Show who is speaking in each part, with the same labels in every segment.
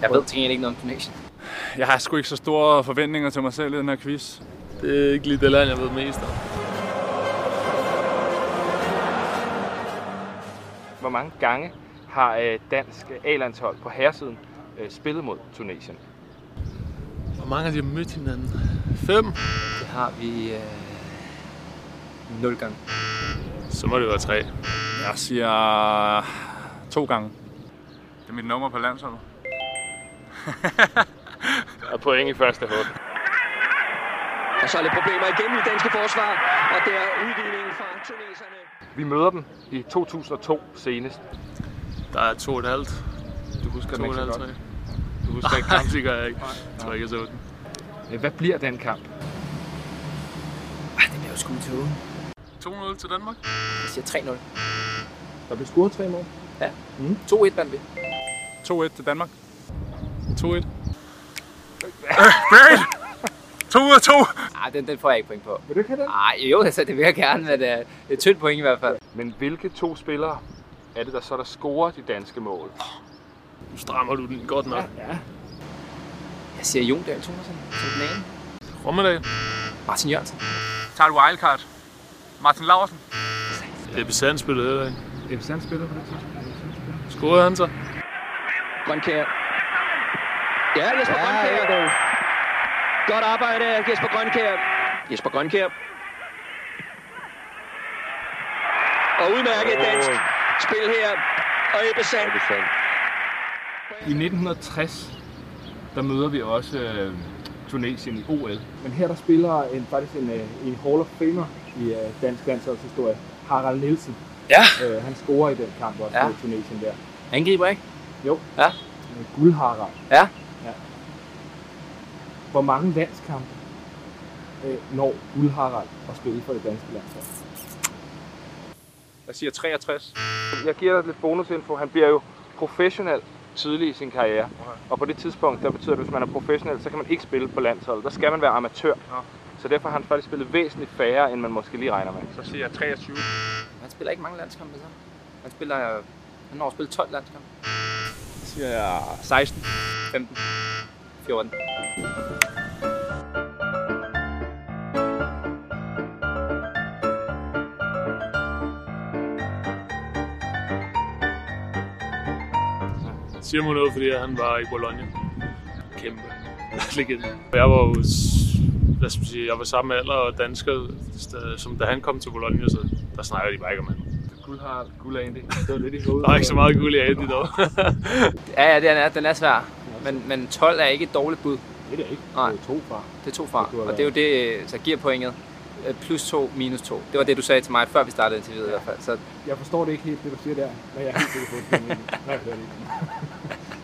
Speaker 1: Jeg ved til ikke noget om Tunesien.
Speaker 2: Jeg har sgu ikke så store forventninger til mig selv i den her quiz.
Speaker 3: Det er ikke lige det land, jeg ved mest om.
Speaker 4: Hvor mange gange har øh, dansk A-landshold på herresiden øh, spillet mod Tunesien?
Speaker 3: Hvor mange af de har mødt hinanden? Fem?
Speaker 1: Det har vi øh, 0 gange.
Speaker 3: Så må det være tre.
Speaker 2: Jeg siger to gange. Det er mit nummer på landsholdet.
Speaker 5: Og point i første hug.
Speaker 6: Og så er lidt problemer igen i danske forsvar, og der er udligningen fra tuneserne.
Speaker 4: Vi møder dem i 2002 senest.
Speaker 3: Der er to og et halvt.
Speaker 4: Du husker
Speaker 3: To
Speaker 4: den
Speaker 3: og et
Speaker 4: ikke så
Speaker 3: halvt,
Speaker 4: godt.
Speaker 3: tre. Du husker ikke kamp, det gør jeg ikke. Jeg tror ikke, jeg så den.
Speaker 4: Øh, Hvad bliver den kamp?
Speaker 1: Ah, det bliver jo skudt til ugen.
Speaker 3: 2-0 til Danmark.
Speaker 1: Jeg siger 3-0.
Speaker 4: Der blev scoret tre mål.
Speaker 1: 2-1 vandt vi.
Speaker 2: 2-1 til Danmark.
Speaker 3: 2-1.
Speaker 2: Øh, Great! 2 ud af 2!
Speaker 1: Ah, den, den får jeg ikke point på.
Speaker 4: Vil du ikke have den?
Speaker 1: Ah, jo, altså, det vil jeg gerne, men det er et tyndt point i hvert fald.
Speaker 4: Men hvilke to spillere er det, der så der scorer de danske mål?
Speaker 3: Nu strammer du den godt nok.
Speaker 1: Jeg siger Jon Dahl Thomasen som den ene.
Speaker 3: Rommedag.
Speaker 1: Martin Jørgensen.
Speaker 2: Tager du wildcard? Martin Larsen.
Speaker 3: Ebbe Sand spillede heller ikke.
Speaker 4: Ebbe Sand spiller på det tidspunkt.
Speaker 3: Scorede han så?
Speaker 6: Grønkær. Ja, Jesper ja, Grønkær. Godt arbejde af Jesper Grønkær. Jesper Grønkær. Og udmærket dansk spil her. Og Ebbe Sand.
Speaker 4: I 1960, der møder vi også øh, Tunesien i OL. Men her der spiller en, faktisk en, øh, en Hall of Famer i øh, dansk landsholdshistorie, Harald Nielsen.
Speaker 1: Ja.
Speaker 4: Øh, han scorer i den kamp også
Speaker 1: Ja.
Speaker 4: ja. mod Tunesien der.
Speaker 1: Angriber, ikke?
Speaker 4: Med Guld Harald.
Speaker 1: Ja.
Speaker 4: ja. Hvor mange landskampe øh, når Guld Harald at spille for det danske landshold?
Speaker 2: Jeg siger 63.
Speaker 4: Jeg giver dig lidt bonusinfo. Han bliver jo professionel tidlig i sin karriere. Og på det tidspunkt, der betyder det, at hvis man er professionel, så kan man ikke spille på landsholdet. Der skal man være amatør. Så derfor har han faktisk spillet væsentligt færre, end man måske lige regner med.
Speaker 2: Så siger jeg 23.
Speaker 1: Han spiller ikke mange landskampe, så. Han spiller... øh, Han har spillet 12 landskampe.
Speaker 2: Så siger jeg 16.
Speaker 1: 15. 14.
Speaker 3: siger mig noget, fordi han var i Bologna. Kæmpe. Legende. Jeg var jo, s- hvad skal man sige, jeg var samme alder og dansker, da- som da han kom til Bologna, så der snakker de bare ikke om ham.
Speaker 4: Guld har guld af det. Det var lidt i hovedet.
Speaker 3: Der er ikke så meget guld i Andy dog.
Speaker 1: Ja, ja, den er, den er svær. Men, men 12 er ikke et dårligt bud.
Speaker 4: Det er det ikke.
Speaker 1: Nej.
Speaker 4: Det er to fra.
Speaker 1: Det er to fra.
Speaker 4: kunne have
Speaker 1: Og det er jo det, øh, så giver pointet. Øh, Plus 2, minus 2. Det var det, du sagde til mig, før vi startede interviewet i hvert fald. Så
Speaker 4: Jeg forstår det ikke helt, det du siger der, men jeg er helt sikker på, at det er Nej, det er det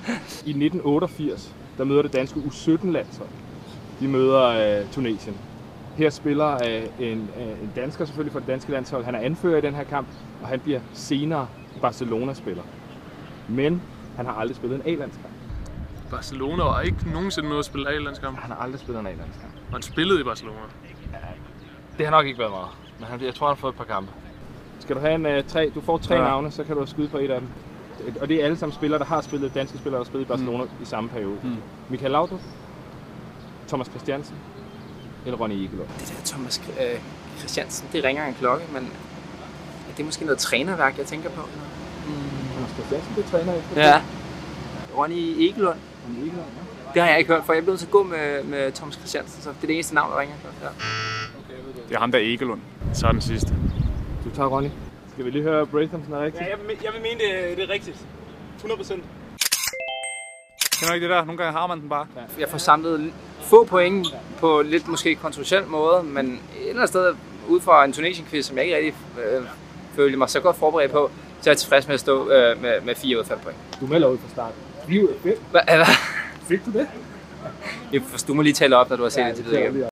Speaker 4: ikke. I 1988, der møder det danske U17-landshold. De møder øh, Tunesien. Her spiller øh, en, øh, en dansker selvfølgelig for det danske landshold. Han er anfører i den her kamp, og han bliver senere Barcelona-spiller. Men han har aldrig spillet en A-landskamp.
Speaker 3: Barcelona var ikke nogensinde med at spille A-landskamp.
Speaker 4: Han har aldrig spillet en A-landskamp.
Speaker 3: Og han spillede i Barcelona.
Speaker 4: Det har nok ikke været meget, men han, jeg tror, han har fået et par kampe. Skal du have en øh, tre? Du får tre
Speaker 2: Ja.
Speaker 4: ja. navne, så kan du skyde på et af dem. Og det er alle sammen spillere, der har spillet, danske spillere, der har spillet i Barcelona mm. i samme periode. Mm. Michael Laudrup, Thomas Christiansen eller Ronny Egelund.
Speaker 1: det der Thomas øh, Christiansen, det ringer en klokke, men er det måske noget trænerværk, jeg tænker på?
Speaker 4: Thomas Christiansen, det træner ikke.
Speaker 1: Ja. Ronny Egelund.
Speaker 4: Ronny Egelund, ja.
Speaker 1: Det har jeg ikke hørt, for jeg blev så god med, med Thomas Christiansen, så det er det eneste navn, der ringer. Ja.
Speaker 2: Det er ham, der er Egelund.
Speaker 3: Så er den sidste.
Speaker 4: Du tager Ronny. Skal vi lige høre Braitham, sådan er rigtigt?
Speaker 7: Ja, jeg, vil- jeg vil mene, det, det er rigtigt. 100 procent.
Speaker 2: Kender du ikke det der? Nogle gange har man den bare.
Speaker 1: Jeg får samlet få point på lidt måske kontroversiel måde, men et eller andet sted ud fra en Tunesien-quiz, som jeg ikke rigtig øh, følte mig så godt forberedt på, så er jeg tilfreds med at stå øh, med, med 4 ud af 5 point.
Speaker 4: Du melder ud fra starten. 4 ud af 5.
Speaker 1: Hva, hva?
Speaker 4: Fik du det?
Speaker 1: Du må lige tale op, når du har set ja, det videre.
Speaker 4: vi